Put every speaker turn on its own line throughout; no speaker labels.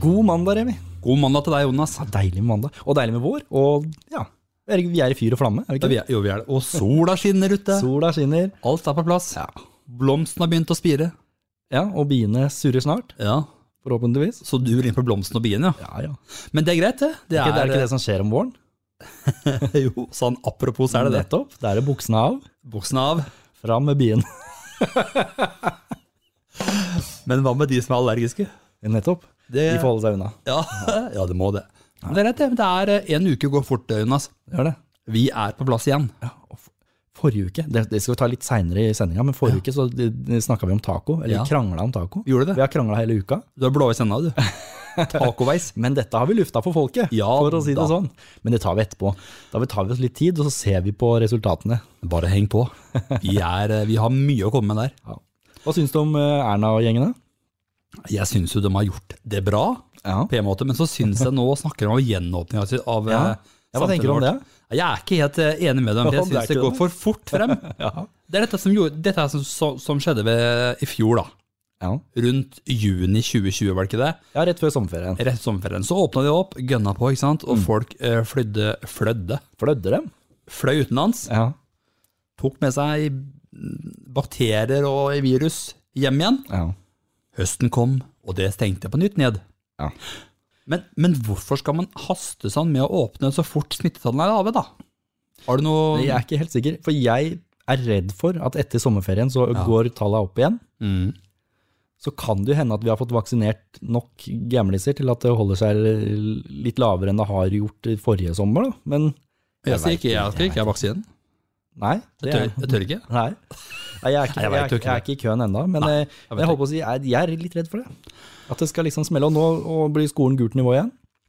God mandag, Remi.
God mandag til deg, Jonas.
Ja, deilig med mandag. Og deilig med vår. Og ja, er det- vi er i fyr og flamme, er det
Ja,
ikke?
vi er, jo, vi er det. Og sola skinner ute.
Sola skinner,
Alt er på plass. Blomsten har begynt å spire.
ja, og biene surrer snart,
Ja.
forhåpentligvis.
Så du rimper blomsten og biene, ja.
Ja, ja.
Men det er greit, det. Det
Ikke, det er ikke det som
er,
skjer om våren.
jo, sånn apropos er det det.
Nettopp. Da er det buksene av,
Buksen av.
fram med bien.
Men hva med de som er allergiske?
Nettopp.
Det,
De får holde seg unna.
ja. ja, det må det. Men det er greit, det. Men det er eh, en uke går fort, eh, Jonas.
Gjør det.
Vi er på plass igjen.
Ja, og for- Forrige uke, det, det skal vi ta litt seinere i sendinga, men forrige uke så snakka vi om taco. Eller
Ja.
krangla om taco.
Gjorde det?
Vi har krangla hele uka.
Du har blåveis ennå, du. Tacoveis.
Men dette har vi lufta for folket,
Ja,
for å si
da.
det sånn. Men det tar vi etterpå. Da tar vi oss litt tid, og så ser vi på resultatene.
Bare heng på. Vi, er, eh, vi har mye å komme med der.
Hva syns du om eh, Erna og gjengene?
Jeg syns jo de har gjort det bra,
Ja.
på en måte, men så syns jeg nå snakker de om gjenåpning av, av
Ja.
eh,
Ja, hva tenker du om
samfunnet vårt. Jeg er ikke helt eh, enig med dem.
Ja,
Jeg
det er
syns det
ikke
går
det.
for fort frem.
Ja.
Det er dette som, gjorde, dette er som, som- som skjedde ved, i fjor, da.
ja.
Rundt juni 2020, var det ikke det?
Ja, rett før sommerferien.
Rett sommerferien. Så åpna de opp, gønna på, ikke sant?
Mm.
og folk eh, flydde, flødde.
Flødde dem?
Fløy utenlands,
Ja.
tok med seg mm, bakterier og virus hjem igjen.
ja.
Høsten kom, og det stengte på nytt ned.
Ja.
Men, men hvorfor skal man haste sånn med å åpne så fort smittetallene er lave, da? Har du noe
Jeg er ikke helt sikker, for jeg er redd for at etter sommerferien så går tallene opp igjen.
Mm.
Så kan det jo hende at vi har fått vaksinert nok gamliser til at det holder seg litt lavere enn det har gjort i forrige sommer, da. Men
Jeg sier
vet
ikke jeg skal ikke ha vaksinen.
Nei.
Jeg
det
tør,
er-
jeg tør ikke.
Nei. Nei, jeg er ikke,
Nei, jeg
jeg,
vet jo
er-
ikke
jeg er ikke i køen ennå, men eh,
jeg
men jeg,
vet
holdt på å si, jeg, jeg er litt redd for det. At det skal liksom smelle. Og nå og blir skolen gult nivå igjen.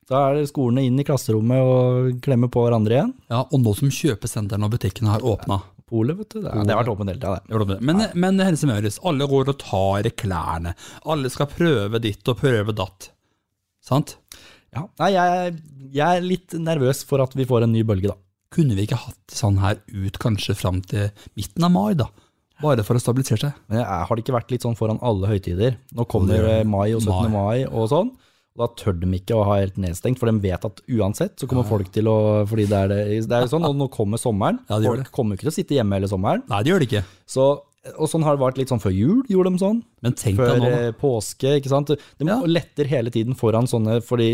Da er det skolene inn i klasserommet og klemme på hverandre igjen.
Ja, og nå som kjøpesentrene og butikkene har åpna
Polet, vet du. Det, er- det har vært åpent hele tida, det.
Men, men Helse Møres, alle går og tar i klærne. Alle skal prøve ditt og prøve datt. Sant?
Ja. Nei, jeg, jeg er litt nervøs for at vi får en ny bølge, da.
Kunne vi ikke hatt sånn her ut kanskje fram til midten av mai, da? Bare for å stabilisere seg.
Men jeg, er- har det ikke vært litt sånn foran alle høytider? Nå kommer
det gjør
eh, mai og 17.
Mai.
mai og sånn. og Da tør de ikke å ha helt nedstengt, for de vet at uansett så kommer folk til å Fordi det er, det, det er jo sånn, og nå kommer sommeren.
Ja, det gjør
folk
det.
kommer jo ikke til å sitte hjemme hele sommeren.
Nei, det gjør det ikke.
Så, og sånn har det vært litt sånn før jul, gjorde de sånn.
Men tenk
Før
deg nå, da.
eh, påske, ikke sant. De
Ja.
letter hele tiden foran sånne, fordi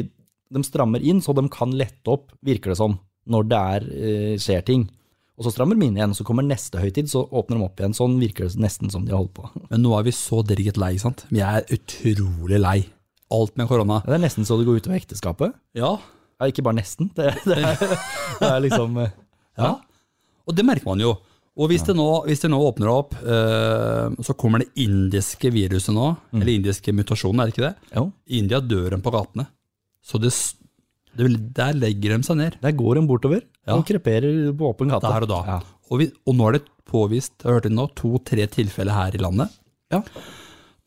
de strammer inn, så de kan lette opp, virker det som, når det er, eh, skjer ting. Og så strammer de inn igjen, så kommer neste høytid, så åpner de opp igjen. Sånn virker det nesten som de har holdt på.
Men nå er vi så drittlei, lei, ikke sant? Vi er utrolig lei. Alt med korona.
Det er nesten så det går utover ekteskapet.
Ja.
Ja, ikke bare nesten, det, det, er, det er liksom eh,
ja. Og det merker man jo. Og hvis, det, nå, hvis det nå åpner opp, eh, så kommer det indiske viruset nå, eller indiske mutasjonen, er det ikke det?
Jo.
I India dør de på gatene. Så det, s- det, vil- der legger de seg ned,
Der går de bortover
Ja.
og kreperer på åpen gate.
der og da.
Ja.
Og, vi, og nå er det påvist, jeg hørte det nå, to-tre tilfeller her i landet.
Ja.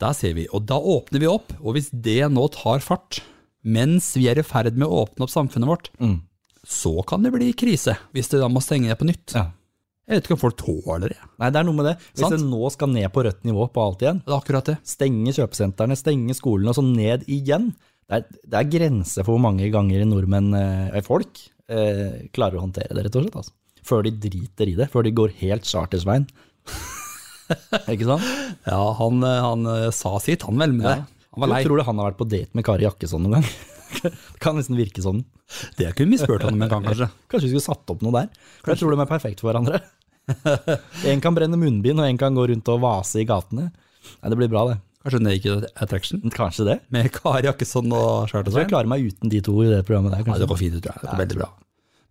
Der ser vi. Og da åpner vi opp. Og hvis det nå tar fart, mens vi er i ferd med å åpne opp samfunnet vårt,
Mm.
så kan det bli krise. Hvis det da må stenge ned på nytt.
Ja.
Jeg vet ikke om folk tåler det.
Nei, det er noe med det. Hvis
Sant.
det nå skal ned på rødt nivå på alt igjen,
Det er akkurat det.
stenge kjøpesentrene, stenge skolene og så ned igjen. Det er, det er grenser for hvor mange ganger nordmenn, eh, folk, eh, klarer å håndtere det, rett og slett. Altså. Før de driter i det, før de går helt chartersveien. Ikke sant?
Ja, han, eh, han eh, sa sitt, han vel, med det. Han var lei.
Jeg tror du han har vært på date med Kari Jakkesson noen gang? det kan nesten virke sånn.
Det kunne vi spurt han om en gang, kanskje.
Kanskje vi skulle satt opp noe der? For jeg tror de er perfekt for hverandre. En kan brenne munnbind, og en kan gå rundt og vase i gatene. Nei, det blir bra, det.
Kanskje Naked Attraction
Kanskje det.
med Kari Jakkesson og
Jeg tror jeg
Chartersveien.
klarer meg uten de to i det programmet der.
Nei,
kanskje.
det går fint, det tror jeg. Det går veldig bra.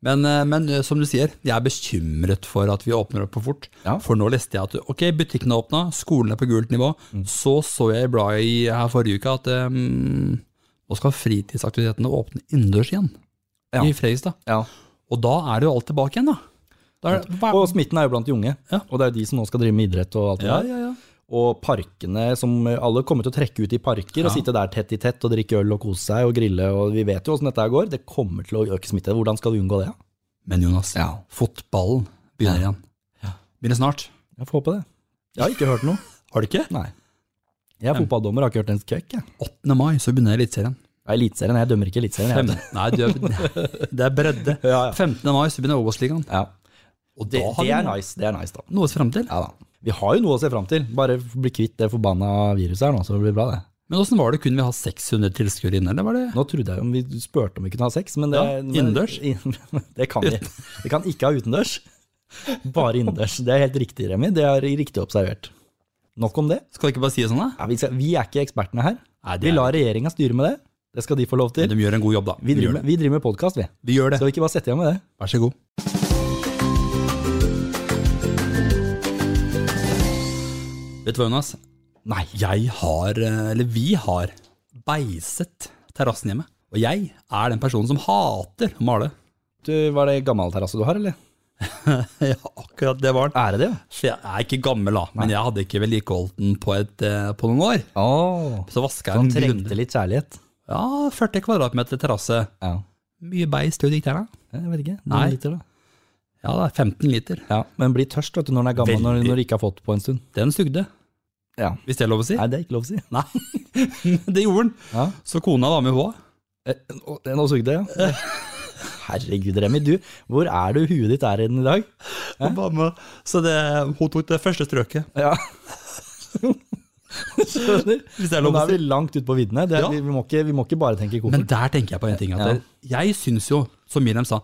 Men, eh, men eh, som du sier, jeg er bekymret for at vi åpner opp for fort.
Ja.
For nå leste jeg at ok, butikkene er åpna, skolen er på gult nivå.
Mm.
Så så jeg i bladet i- her forrige uke at eh, nå skal fritidsaktivitetene åpne innendørs igjen.
Ja.
I Fredrikstad.
Ja.
Og da er det jo alt tilbake igjen, da. da er det, hva,
Og smitten er jo blant de unge,
Ja.
og det er jo de som nå skal drive med idrett og alt det
ja,
der.
ja, ja.
Og parkene som alle kommer til å trekke ut i parker og sitte der tett i tett og drikke øl og kose seg og grille, og vi vet jo åssen dette her går. Det kommer til å øke smitte. Hvordan skal du unngå det?
Men Jonas,
Ja.
fotballen begynner igjen. Begynner snart.
Jeg får håpe det. Jeg har ikke hørt noe.
Har du ikke?
Nei. Jeg er fotballdommer, har ikke hørt en køkk, jeg.
8. mai så begynner Eliteserien.
Ja, Eliteserien, jeg dømmer ikke Eliteserien.
Fem,
jeg.
nei, du, er- det er bredde.
Ja, ja.
15. mai så begynner Obos-ligaen.
Ja.
Og
Det,
da har
det er
vi
nice, det er nice, da.
noe å se frem til.
Ja da. Vi har jo noe å se fram til. Bare bli kvitt det forbanna viruset her nå, så det blir bra, det.
Men åssen var det, kunne vi ha 600 tilskuere inne, eller var det
Nå trodde jeg om vi spurte om vi kunne ha sex, men det,
Ja,
men-
innendørs?
det kan vi. Vi kan ikke ha utendørs. Bare innendørs. Det er helt riktig, Remi. Det er riktig observert. Nok om det.
Skal vi ikke bare si det sånn, da?
Ja, vi, skal, vi er ikke ekspertene her.
Nei, det
Vi
er-
lar regjeringa styre med det. Det skal de få lov
Men
til.
de gjør en god jobb, da.
Vi
De gjør
driver,
det.
vi driver med podkast, vi.
Vi gjør det.
Skal vi ikke bare sette i gang med det?
Vær så god. Vet du hva, Jonas?
Nei.
Jeg har, eh, eller vi har, beiset terrassen hjemme. Og jeg er den personen som hater å male.
Du, var det gammel terrasse du har, eller?
ja, akkurat det var den.
Er det det?
Så jeg er ikke gammel, da, men jeg hadde ikke vedlikeholdt den på, et, eh, på noen år.
Oh,
Så vaska
han
jeg den
trengte
grundig.
litt kjærlighet.
Ja, 40 kvadratmeter terrasse.
Ja.
Mye beis til å dikte her, da.
Jeg vet ikke. Noen
Nei.
Liter, da.
Ja, det er 15 liter.
Ja, men blir tørst vet du, når den er gammel, når,
Veldig.
når du ikke har fått på en stund.
Den sugde,
Ja.
hvis det er lov å si.
Nei, det er ikke lov å si.
Nei, det gjorde den.
Ja.
Så kona var med på.
Eh, Nå nå sugde jeg, ja. Herregud, Remi. Du, hvor er du huet ditt er i den i dag?
Hun var med. Så det, hun tok det første strøket.
Ja. Skjønner.
Hvis det er
Nå
lov å
er vi
si.
langt ute på viddene. Det,
Ja.
vi, vi, må ikke, vi må ikke bare tenke koffert.
Men der tenker jeg på en ting. At
Ja.
det- Jeg syns jo, som Miriam sa,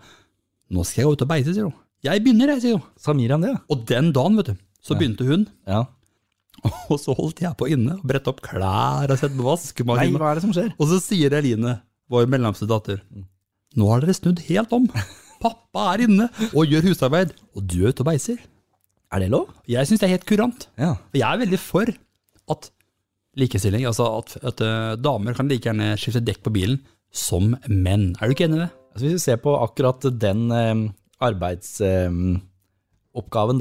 nå skal jeg gå ut og beise, sier hun. Jeg begynner, jeg, sier hun.
Sa Miriam det?
Og den dagen, vet du, så begynte hun.
Ja.
Og så holdt jeg på inne og brettet opp klær og sette på
Nei,
vaskemaskinen.
hva er det som skjer?
Og så sier Eline, vår mellomste datter, nå har dere snudd helt om. Pappa er inne og gjør husarbeid, og du er ute og beiser.
Er det lov?
Jeg syns det er helt kurant.
Ja.
For Jeg er veldig for at likestilling, altså at, at eh, damer kan like gjerne skifte dekk på bilen som menn. Er du ikke enig i det?
Altså, hvis vi ser på akkurat den eh, arbeidsoppgaven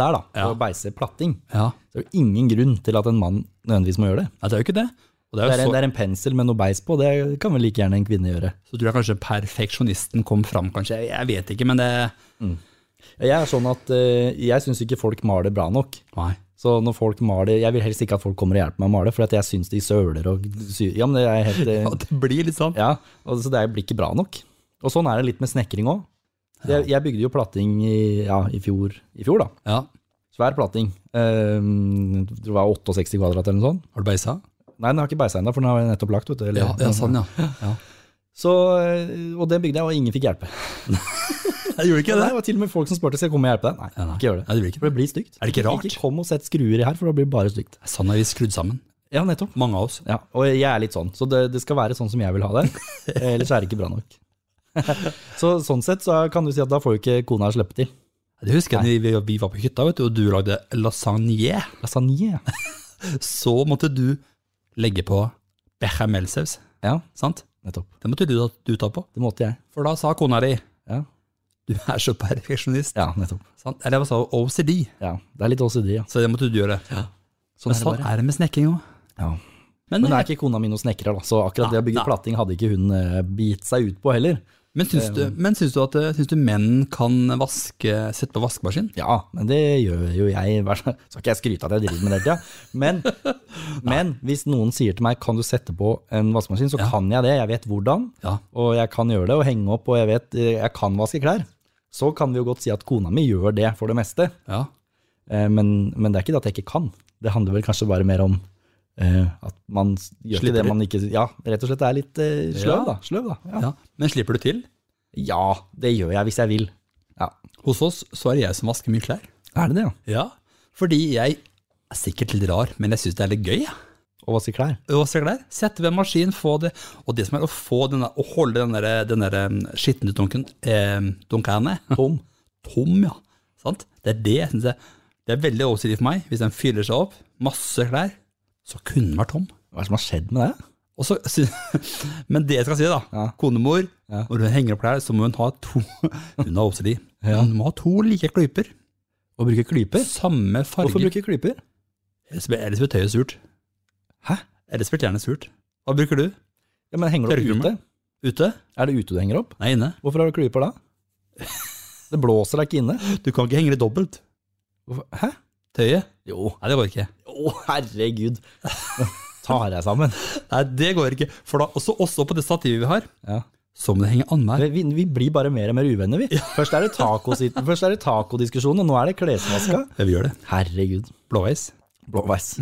der, da,
Ja.
å beise platting,
Ja.
så er det ingen grunn til at en mann nødvendigvis må gjøre det.
Nei, det er jo ikke det. Og
Det
det er
er,
jo
det
så,
er en pensel med noe beis på, det kan vel like gjerne en kvinne gjøre.
så tror jeg kanskje perfeksjonisten kom fram, kanskje. Jeg, jeg vet ikke, men det
Jeg er sånn at eh, jeg syns ikke folk maler bra nok.
Nei.
Så når folk maler, Jeg vil helst ikke at folk kommer og hjelper meg å male, for at jeg syns de søler og syr. Ja, men det er helt, eh,
Ja, det blir litt sånn.
ja, og Så det blir ikke bra nok. Og sånn er det litt med snekring òg. Jeg, jeg bygde jo platting i, ja, i, fjor, i fjor, da.
Ja.
Svær platting. Um, det var 68 kvadrat eller noe sånt.
Har du beisa?
Nei, den har ikke beisa ennå, for den har jeg nettopp lagt. vet du. eller-
Ja, ja, sånn, ja. ja.
Så, eh, og den bygde jeg, og ingen fikk hjelpe.
Jeg gjorde ikke
Nei,
det.
det var til og med folk som spurte skal jeg komme og hjelpe deg. Nei,
Ja, nei.
ikke gjør det.
Nei, det blir ikke
For det blir stygt.
Er det ikke rart?
Ikke kom og sett skruer i her, for da blir det bare stygt.
Sånn er vi skrudd sammen.
Ja, nettopp.
Mange av oss.
Ja, og jeg er litt sånn, så det, det skal være sånn som jeg vil ha det. Ellers er det ikke bra nok. så sånn sett så kan du si at da får jo ikke kona slippe til.
Det husker jeg da vi, vi var på hytta, vet du, og du lagde lasagne.
Lasagne.
Så måtte du legge på bechamelsaus,
Ja,
sant?
nettopp.
Det måtte du, du ta på.
Det måtte jeg.
For da sa kona di
Ja,
du er så perfeksjonist.
ja nettopp.
Sant? Eller hva sa hun? OCD.
Ja, det er litt OCD, ja.
Så det måtte du gjøre.
Sånn
Men
er det
sånn
bare.
er det med snekking òg.
Ja.
Men, eh,
Men det
men, Ah,
er ikke kona mi noen snekrer, da, så akkurat det å
Nei,
bygge
nei.
platting hadde ikke hun eh, gitt seg ut på heller.
syns, du, men syns, du at, eh, syns du menn kan vaske, sette på vaskemaskin?
Ja, men det gjør jo jeg. i hvert fall. Skal ikke jeg skryte av at jeg driver med det hele tida, men, men hvis noen sier til meg kan du sette på en vaskemaskin, så kan jeg det. Jeg vet hvordan,
Ja.
og jeg kan gjøre det og henge opp, og jeg vet eh, jeg kan vaske klær. Så kan vi jo godt si at kona mi gjør det for det meste,
Ja.
eh, men, men det er ikke det at jeg ikke kan. Det handler vel kanskje bare mer om eh, at man s- gjør
Slipper
ikke det
litt.
man ikke Ja, rett og slett er litt eh, sløv,
Ja.
da. Sløv, da. Ja.
ja. Men slipper du til?
ja, det gjør jeg hvis jeg vil. Ja.
Hos oss så er det jeg som vasker mye klær.
Er det det, ja?
Ja. Fordi jeg er sikkert litt rar, men jeg syns det er litt gøy. jeg.
Å vaske klær?
og se klær. Sette ved en maskin, få det. Og det som er å få den der, å holde den der, den der um, skitne dunken, eh, dunkene
Tom?
tom, ja. Sant? Det er det jeg synes jeg, det er veldig overstidig for meg. Hvis den fyller seg opp, masse klær, så kunne den vært tom.
Hva er det som har skjedd med det?
Og så, sy- men det jeg skal si da,
Ja.
konemor,
Ja.
når hun henger opp klær, så må hun ha to, hun er overstidig, hun må ha to like klyper,
Å bruke klyper?
samme farge.
Hvorfor bruke klyper?
Ellers blir ellers blir tøyet surt.
Hæ?
Ellers blir tjerne surt. Hva bruker du?
Ja, men Henger du opp ute?
Tørkerommet? Ute?
Er det ute du henger opp?
Nei, inne.
Hvorfor har du klyper da? Det blåser da ikke inne?
Du kan ikke henge det dobbelt.
Hvorfor? Hæ?
Tøyet?
Jo.
Nei, det går ikke.
Å, herregud. Ta deg sammen.
Nei, det går ikke. For da, også, også på det stativet vi har,
Ja.
så må det henge annenhver.
Vi, vi, vi blir bare mer og mer uvenner, vi. Først er det tacosit- først er det tacodiskusjonen, og nå er det klesvaska.
Ja, vi gjør det.
Herregud.
Blåveis.
Blåveis.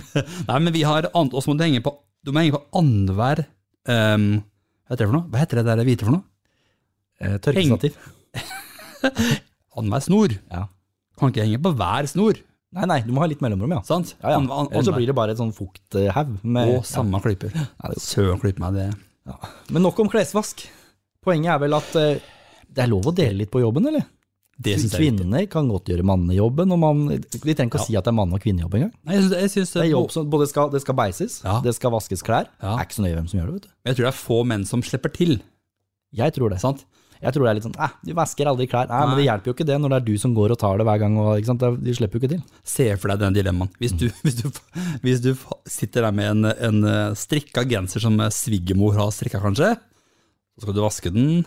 Nei, men vi har annet, også må det henge på, du må henge på annenhver ehm, Hva heter det for noe? Hva heter det der hvite for noe?
Eh, Tørkestativ.
Annenhver snor.
Ja.
Kan ikke henge på hver snor,
Nei, nei, du må ha litt mellomrom, ja.
sant?
Ja, ja.
Annenhver- an-
Ellers så
annenhver.
blir det bare et sånn fukthaug. med-
Og samme klyper. Søren klype meg, det
Ja. Men nok om klesvask. Poenget er vel at eh, det er lov å dele litt på jobben, eller?
Det synes jeg er viktig.
Kvinner kan godt gjøre mannejobben, og man, vi trenger ikke å si at det er mann- og kvinnejobb engang.
Nei, jeg synes, jeg synes
Det
det
er jobb som både skal, det skal beises,
Ja.
det skal vaskes klær.
Ja.
Det er ikke så nøye hvem som gjør det, vet du.
Jeg tror det er få menn som slipper til,
Jeg tror det.
sant?
Jeg tror det er litt sånn eh, du vasker aldri klær. Nei, men
Nei.
det hjelper jo ikke det når det er du som går og tar det hver gang. Og, ikke sant? Det- De slipper jo ikke til.
Se for deg den dilemmaen. Hvis du, hvis du, hvis du fa- sitter der med en, en eh, strikka genser som eh, svigermor har strikka, kanskje, så skal du vaske den,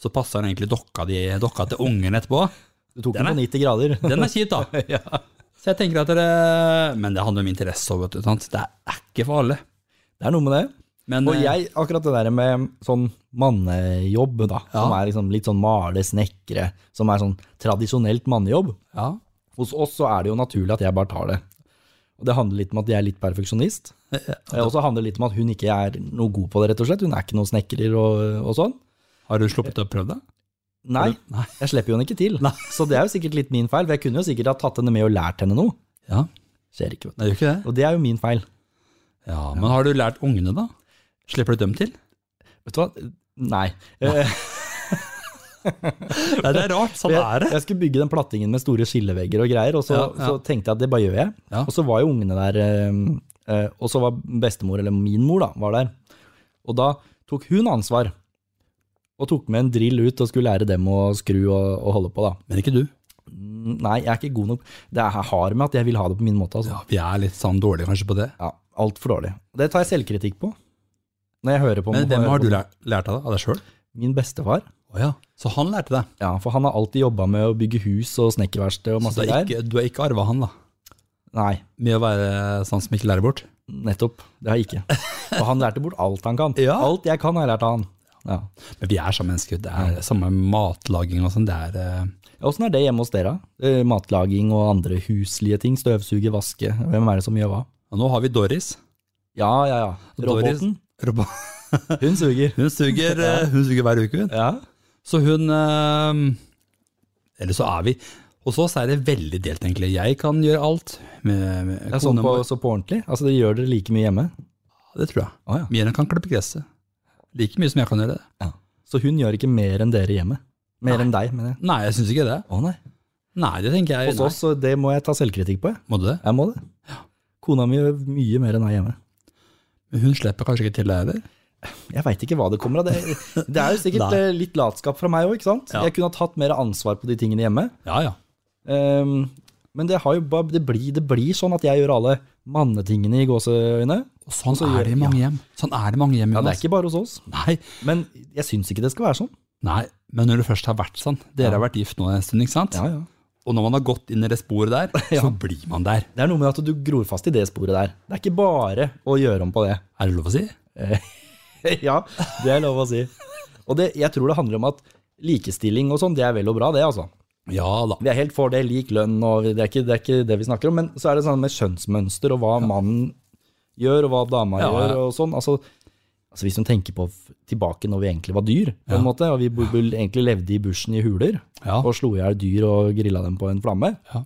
så passer den egentlig dokka, di, dokka til ungen etterpå.
Du tok
Den
den, på 90 grader.
Den er kjip, da. Så jeg tenker at det, Men det handler om interesse òg, vet du. Sant? Det er ikke for alle.
Det er noe med det.
Men
Og
eh,
jeg, akkurat det der med sånn mannejobb, da, som er liksom litt sånn male, snekre, som er sånn tradisjonelt mannejobb,
eh, ja,
Hos oss så er det jo naturlig at jeg bare tar det. Og Det handler litt om at jeg er litt perfeksjonist. Eh, Og så handler det litt om at hun ikke er noe god på det, rett og slett. Hun er ikke noen snekrer og, og sånn.
Har du sluppet å prøve det?
Nei,
Nei.
jeg slipper jo henne ikke til. Så det er jo sikkert litt min feil, for jeg kunne jo sikkert ha tatt henne med og lært henne noe.
Ja,
Skjer ikke, vet du.
det gjør ikke det.
Og det er jo min feil.
Ja, Men har du lært ungene, da? Slipper du dem til?
Vet du hva? Nei. Eh,
Nei, det er rart. Sånn er det.
Jeg skulle bygge den plattingen med store skillevegger og greier, og så,
Ja, ja.
så tenkte jeg at det bare gjør jeg.
Ja.
Og så var jo ungene der, eh, eh, og så var bestemor, eller min mor da, var der. Og da tok hun ansvar, og tok med en drill ut og skulle lære dem å skru og, og holde på da.
Men ikke du.
Mm, Nei, jeg er ikke god nok. Det er hard med at jeg vil ha det på min måte, altså.
Ja, Vi er litt sånn dårlige kanskje på det.
Ja, alt for dårlig. Det tar jeg selvkritikk på. Når jeg hører på
Men
når jeg
hvem
hører
har
på-
du lært, lært av det? Av deg sjøl?
Min bestefar.
ja. Så han lærte deg?
Ja, for han har alltid jobbet med å bygge hus og snekkerverste og
Så
masse
du
greier.
har ikke, du har ikke arva han, da?
Nei,
Med å være sånn som ikke lærer bort?
Nettopp. Det har jeg ikke. Og han lærte bort alt han kan.
Ja.
Alt jeg kan, har jeg lært av han. Ja.
Men vi er samme mennesker. Det er samme matlaging og sånn. Det er eh,
Åssen er det hjemme hos dere? Eh, Matlaging og andre huslige ting? Støvsuge, vaske? Hvem er det som gjør hva?
Og nå har vi Doris.
Ja, ja, ja. Roboten.
Robo-
Hun suger.
Hun suger, eh, hun suger hver uke. hun.
Ja.
Så hun eh, Eller så er vi Hos oss er det veldig delt, egentlig. Jeg kan gjøre alt. Med, med
Det er sånn
kona
på,
vår.
så på ordentlig? Altså, det gjør dere like mye hjemme?
Det tror jeg.
Å, ja.
Mira kan klippe gresset. Like mye som jeg kan gjøre det.
Så hun gjør ikke mer enn dere hjemme? Mer enn deg, mener jeg.
Nei, jeg syns ikke det.
Å nei.
Nei, det tenker jeg.
Hos oss, så det må jeg ta selvkritikk på. jeg.
Nei. Må du det?
Jeg må det. Kona mi gjør mye mer enn meg hjemme.
Men Hun slipper kanskje ikke til det heller?
Jeg veit ikke hva det kommer av. Det, det er jo sikkert
Nei.
eh, litt latskap fra meg òg, ikke sant?
Ja.
Jeg kunne ha tatt mer ansvar på de tingene hjemme.
Ja, ja.
Ehm, men det, har jo, bare- det, blir, det blir sånn at jeg gjør alle mannetingene i gåseøyne.
Og sånn
så gjør-
er det i mange hjem. Sånn er det i mange hjem.
Ja, det er
Jonas.
ikke bare hos oss.
Nei,
Men jeg syns ikke det skal være sånn.
nei, men når det først har vært sånn Dere
Ja.
har vært gift nå en stund, ikke sant?
Ja, ja.
Og når man har gått inn i det sporet der, så blir man der.
Det er noe med at du gror fast i det sporet der. Det er ikke bare å gjøre om på det.
Er det lov å si?
ja, det er lov å si. Og det, jeg tror det handler om at likestilling og sånn, det er vel og bra, det, altså.
Ja da.
Vi er helt for det, lik lønn, og det er, ikke, det er ikke det vi snakker om. Men så er det sånn med kjønnsmønster, og hva mannen gjør, og hva dama
Ja, ja.
gjør, og sånn. Altså, altså hvis man tenker på f- tilbake når vi egentlig var dyr, på en måte, og vi bo- bo- egentlig levde i bushen i huler,
Ja,
og slo i hjel dyr og grilla dem på en flamme,
Ja.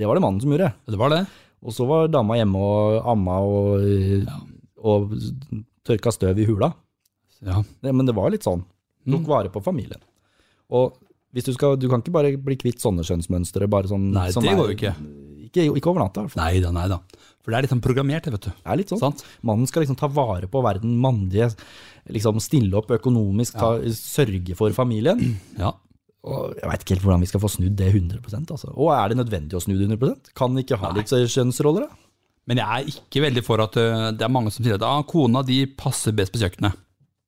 det var det mannen som gjorde.
det var det.
Og så var dama hjemme og amma og, og tørka støv i hula.
Ja.
Det- Men det var litt sånn.
Mm.
Tok vare på familien. Og hvis du, skal, du kan ikke bare bli kvitt sånne kjønnsmønstre. Bare sånn,
Nei,
som
det
er-
går jo ikke.
Ikke, ikke over natta, i hvert fall.
Nei da, nei da. For det er litt sånn programmert, vet du.
Det er litt sånn.
Sant?
Mannen skal liksom ta vare på å være den mannlige, liksom stille opp økonomisk, ta, sørge for familien.
Ja.
Og jeg veit ikke helt hvordan vi skal få snudd det 100 altså. Og er det nødvendig å snu det 100 Kan vi ikke ha litt kjønnsroller, da?
Men jeg er ikke veldig for at øh, det er mange som sier at ah, kona de passer best på kjøkkenet.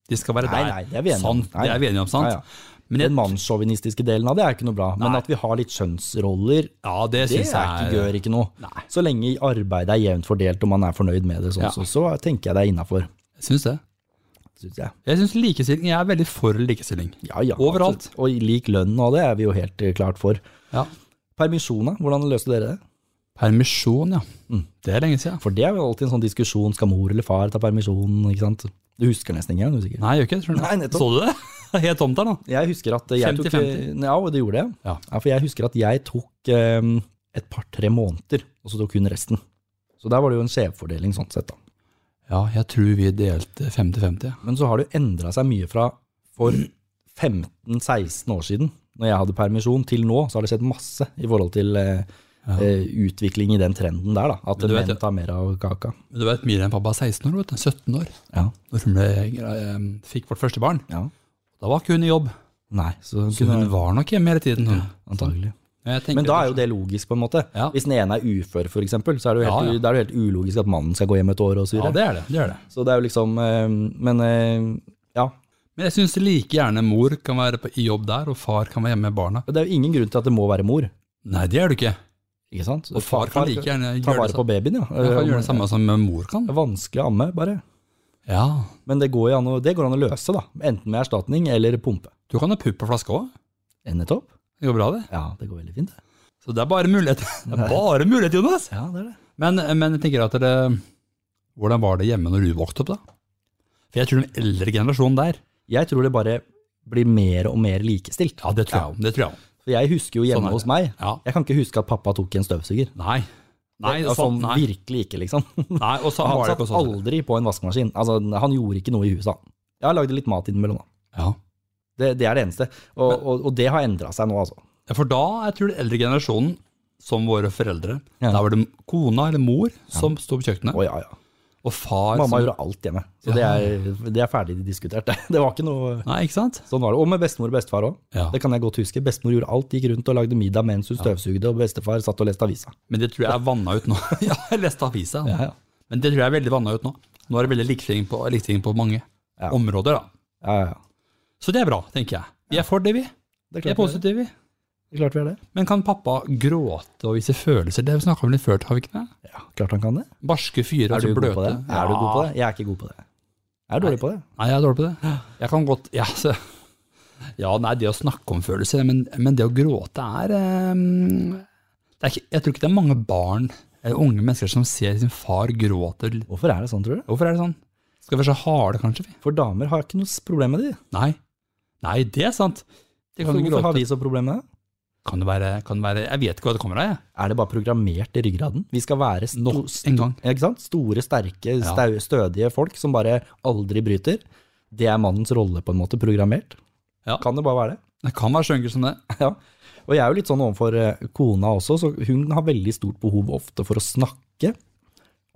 De skal være
Nei,
der.
nei, det er vi enige om.
Sånn,
Nei,
det er vi enige om, sant?
Ja, ja.
Men jeg-
den mannssjåvinistiske delen av det er ikke noe bra. Men
Nei.
at vi har litt kjønnsroller,
Ja, det,
det
synes
er
jeg
ikke, gjør ikke noe.
Nei.
Så lenge arbeidet er jevnt fordelt og man er fornøyd med det, sånn,
Ja.
så, så tenker jeg det er innafor.
Jeg synes det. Jeg synes likestilling, jeg er veldig for likestilling.
Ja, ja,
Overalt.
absolutt. Og lik lønn og det er vi jo helt eh, klart for.
Ja.
Permisjoner, hvordan løste dere det?
Permisjon, ja.
Mm.
Det er lenge siden.
For det er jo alltid en sånn diskusjon, skal mor eller far ta permisjon, ikke sant? Du husker nesten ikke, er du sikker?
Nei, jeg gjør ikke det. tror du.
Nei, nettopp.
Så du det? Det er Helt tomt der nå.
Jeg husker at jeg tok eh,
50-50?
Ja, og det gjorde jeg.
Ja.
for jeg husker at jeg tok eh, et par-tre måneder, og så tok hun resten. Så der var det jo en skjevfordeling sånn sett, da.
Ja, jeg tror vi delte 50-50. ja.
Men så har det jo endra seg mye fra for 15-16 år siden, når jeg hadde permisjon, til nå, så har det skjedd masse i forhold til eh,
Ja.
eh, utvikling i den trenden der, da. At
Men du vet
menn
det-
tar mer av kaka.
Men Du vet, Miriam pappa er 16 år, vet du. 17 år.
Ja.
Når hun ble, eh, fikk vårt første barn.
ja.
Da var ikke hun i jobb.
Nei, så,
Så hun var nok hjemme hele tiden, hun.
Antagelig.
Men, jeg tenker
Men da er jo det logisk, på en måte.
Ja.
Hvis den ene er ufør, for eksempel, så er det jo helt,
Ja, ja.
da er det jo helt ulogisk at mannen skal gå hjem et år og surre.
Ja, det er det. det, er det.
Så det er jo liksom eh, Men eh, ja.
Men jeg syns like gjerne mor kan være på, i jobb der, og far kan være hjemme med barna.
Det er jo ingen grunn til at det må være mor.
Nei, det er det ikke.
Ikke sant?
Og far kan like
ta
gjerne gjøre det,
vare på
samme.
babyen, ja.
Han kan gjøre det
Eh,
samme som mor kan.
det er vanskelig å amme, bare.
Ja,
Men det går, jo an å, det går an å løse, da. Enten med erstatning eller pumpe.
Du kan ha pupp på flaske òg.
Nettopp.
Det går bra, det.
Ja, det går veldig fint. det.
Så det er bare mulighet. Det er bare mulighet, Jonas!
Ja, det er det.
Men, men jeg tenker at det, hvordan var det hjemme når du vokste opp, da? For jeg tror den eldre generasjonen der
Jeg tror det bare blir mer og mer likestilt.
Ja, det tror jeg om. Det tror jeg om.
For jeg husker jo hjemme
Sånn er
hos
det.
meg.
Ja.
Jeg kan ikke huske at pappa tok en støvsuger.
Nei. Nei,
Det- altså,
sånn, nei.
Virkelig ikke, liksom.
nei og så
Han
var det
satt
ikke sånn.
aldri på en vaskemaskin. Altså, han gjorde ikke noe i huset. han. Jeg lagde litt mat innimellom, da.
Ja.
Det, det er det eneste. Og, og, og det har endra seg nå, altså.
Ja, For da, jeg tror den eldre generasjonen, som våre foreldre,
Ja.
da var det kona eller mor som sto på kjøkkenet,
Å, ja, ja.
og far
Mamma
som
gjorde alt hjemme. Så det er, det er ferdig diskutert. det. Det var ikke noe
Nei, ikke sant?
Sånn var det. Og med bestemor og bestefar òg.
Ja.
Det kan jeg godt huske. Bestemor gjorde alt, gikk rundt og lagde middag mens hun støvsugde, og bestefar satt og leste avisa.
Men det tror jeg er vanna ut nå. ja, jeg leste avisa.
Ja, ja.
Men det tror jeg er veldig vanna ut nå. Nå er det veldig likestilling på, likestilling på mange
Ja.
områder, da.
Ja, ja, ja.
Så det er bra, tenker jeg. Vi er for det, vi.
Det er
Vi er
klart vi er det.
positive, vi.
Det er klart vi er det.
Men kan pappa gråte og vise følelser? Det snakka vi om litt før, har vi ikke det?
Ja, klart han kan det.
Barske fyrer
Er
og
du
så
god
bløte.
på det? Er du god på det? Jeg er ikke god på det. Jeg er dårlig på det.
Nei, jeg er dårlig på det. Jeg kan godt Ja, så, ja nei, det å snakke om følelser, men, men det å gråte er, eh, det er ikke, Jeg tror ikke det er mange barn eller unge mennesker som ser sin far gråte.
Hvorfor er det sånn, tror du?
Hvorfor er det sånn? Skal vi være så harde, kanskje? vi?
For damer har ikke noe problem med det.
Nei. Nei, det er sant. Det
Så
kan,
hvorfor har
gråte.
vi så problem med det?
kan det være, kan det være Jeg vet ikke hva det kommer av, jeg.
Er det bare programmert i ryggraden? Vi skal være sto
Nok en gang.
ja, ikke sant? store, sterke,
Ja.
stau- stødige folk som bare aldri bryter. Det er mannens rolle, på en måte, programmert.
Ja.
Kan det bare være det?
Det kan være så enkelt som det.
Ja. Og jeg er jo litt sånn overfor eh, kona også, så hun har veldig stort behov ofte for å snakke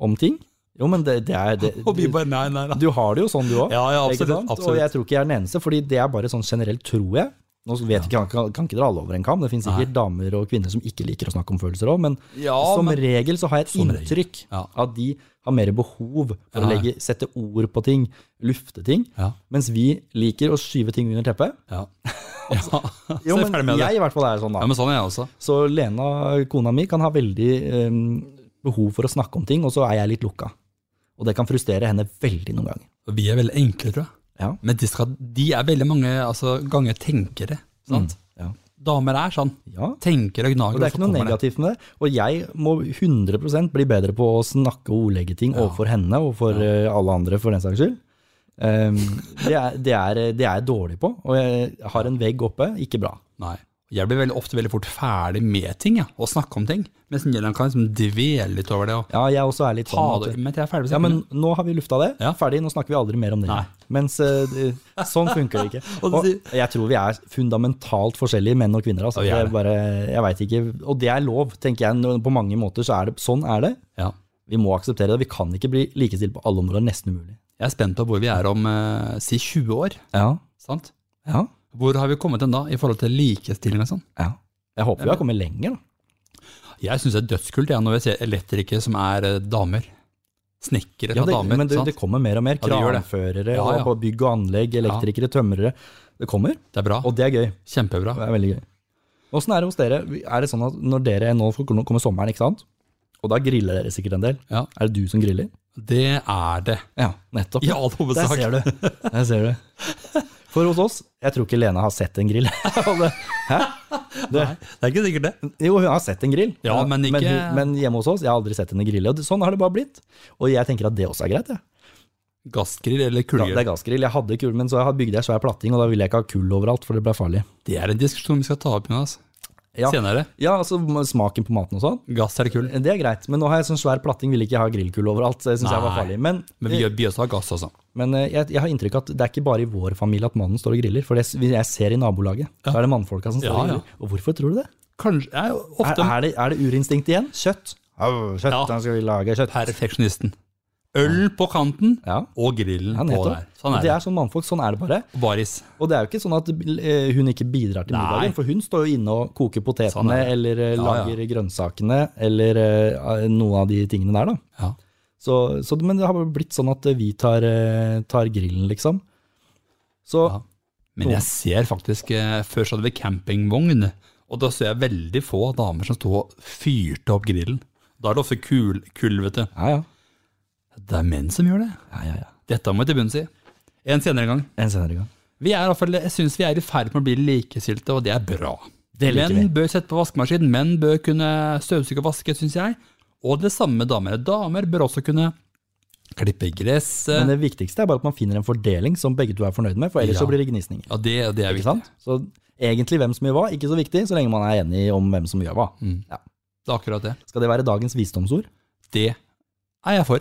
om ting. Jo, men det, det er det,
Og vi bare nei, nei, nei.
Du har det jo sånn, du òg.
Ja, ja,
Ikke
absolutt,
sant?
absolutt.
Og jeg tror ikke jeg er den eneste, fordi det er bare sånn generelt, tror jeg. Nå vet jeg ikke, kan, kan ikke dra alle over en kam, det finnes sikkert damer og kvinner som ikke liker å snakke om følelser òg, men
Ja,
som
men-
regel så har jeg et
Som regel,
inntrykk
ja.
at de har mer behov for å
Ja.
legge, sette ord på ting, lufte ting,
Ja.
mens vi liker å skyve ting under teppet.
Ja. ja. Så
Altså, Jo,
jeg er
men
ferdig med det.
jeg i hvert fall er sånn, da.
Ja, men sånn er jeg også.
Så Lena, kona mi, kan ha veldig eh, behov for å snakke om ting, og så er jeg litt lukka. Og det kan frustrere henne veldig noen ganger.
Og Vi er veldig enkle, tror jeg.
Ja.
Men de, skal, de er veldig mange altså, ganger tenkere. Sant?
Ja.
Damer er sånn.
ja.
Tenkere og gnager.
Og det er
så
ikke noe
kommer
negativt med det. Og jeg må 100 bli bedre på å snakke og ordlegge ting overfor henne og for eh, alle andre, for den saks skyld. Ehm, det, er, det, er, det er jeg dårlig på, og jeg har en vegg oppe. Ikke bra.
Nei. Jeg blir veldig, ofte veldig fort ferdig med ting ja, og snakke om ting. Mens Nylund kan liksom dvele litt over det og
Ja, jeg også er litt
ta
sånn.
det
At,
Men jeg er ferdig med
ja,
snakken.
men nå har vi lufta det.
Mhm. Ja.
Ferdig, nå snakker vi aldri mer om det.
Nei.
Mens eh, det- sånn funker det ikke.
Og
Og
det
jeg tror vi er fundamentalt forskjellige, menn og kvinner. Altså.
Ja,
Det
vi er
er bare, jeg vet ikke, og det er lov, tenker jeg. Nå- På mange måter så er det sånn er det.
Ja.
Vi må akseptere det. Vi kan ikke bli likestilt på alle områder. Nesten umulig.
Jeg er spent på hvor vi er om eh, si 20 år.
Ja,
sant?
ja,
Hvor har vi kommet hen da, i forhold til likestilling og sånn?
ja. Jeg håper vi har kommet lenger, da.
Jeg syns det er dødskult jeg, når jeg ser elektrikere som er eh, damer. Snekkere
Ja,
og
det,
damer.
men det,
sant?
det kommer mer og mer.
Ja, det gjør det.
Kranførere
Ja, ja.
og på bygg og anlegg, elektrikere, tømrere. Det kommer,
Det er bra.
og det er gøy.
Kjempebra.
Det er veldig gøy. Åssen er det hos dere? Er det sånn at når dere nå nå kommer sommeren, ikke sant? Og da griller dere sikkert en del.
Ja.
Er det du som griller?
Det er det.
Ja, nettopp.
I all
Der
hovedsak.
ser du. Der ser du. For hos oss, jeg tror ikke Lena har sett en grill. Og det- Hæ?
Nei, det er ikke sikkert det.
Jo, hun har sett en grill.
Ja, men ikke-
hun- men hjemme hos oss, jeg har aldri sett henne grille. Og det- sånn har det bare blitt. Og jeg tenker at det også er greit, jeg.
Gassgrill eller
Ja, det
kullgrill.
er gassgrill. Jeg hadde kull, men så har- bygde jeg svær platting, og da ville jeg ikke ha kull overalt, for det ble farlig.
Det er en diskusjon vi skal ta opp Jonas.
Ja.
senere.
Ja, altså smaken på maten og sånn.
Gass eller kull.
Det er greit, men nå har jeg sånn svær platting, vil ikke ha grillkull overalt, så jeg syns jeg var
Nei.
farlig. Men, eh,
Men vi gjør vi også har gass, altså.
men eh, jeg, jeg har inntrykk av at det er ikke bare i vår familie at mannen står og griller, for det s- jeg ser i nabolaget, da er det mannfolka som står
Ja,
og griller. Og hvorfor tror du det?
Kanskje jeg er jo
Er,
ofte
er, det, er det urinstinkt igjen? Kjøtt? Au, kjøtt,
Ja.
da skal vi lage kjøtt.
perfeksjonisten. Øl på kanten
Ja,
og grillen
ja
på
nettopp.
der. Sånn
Og det
er det.
er sånn mannfolk, sånn er det bare.
Og Baris.
Og det er jo ikke sånn at eh, hun ikke bidrar til
Nei.
middagen, for hun står jo inne og koker potetene,
Sånn er det.
eller eh,
Ja, ja.
lager grønnsakene, eller eh, noen av de tingene der da.
Ja.
Så, så, men det har bare blitt sånn at vi tar, eh, tar grillen, liksom. Så
Ja. Men jeg ser faktisk eh, Før så hadde vi campingvogn, og da så jeg veldig få damer som sto og fyrte opp grillen. Da er det ofte kul, kull, vet du.
ja, ja.
Det er menn som gjør det.
ja, ja, ja.
Dette må vi til bunns i. En senere gang.
En senere gang.
Vi er i hvert fall, Jeg syns vi er i ferd med å bli likestilte, og det er bra.
Det liker
menn
vi.
bør sette på vaskemaskin, menn bør kunne støvsuge og vaske, syns jeg. Og det samme med damer. Damer bør også kunne klippe
Men
gresset.
det viktigste er bare at man finner en fordeling som begge to er fornøyd med, for ellers
Ja.
så blir det gnisninger.
Ja, det, det er
Ikke
viktig.
sant? Så egentlig hvem som gjør hva, ikke så viktig, så lenge man er enig om hvem som gjør hva. Ja.
Det er akkurat det.
Skal det være dagens visdomsord?
Det er jeg for.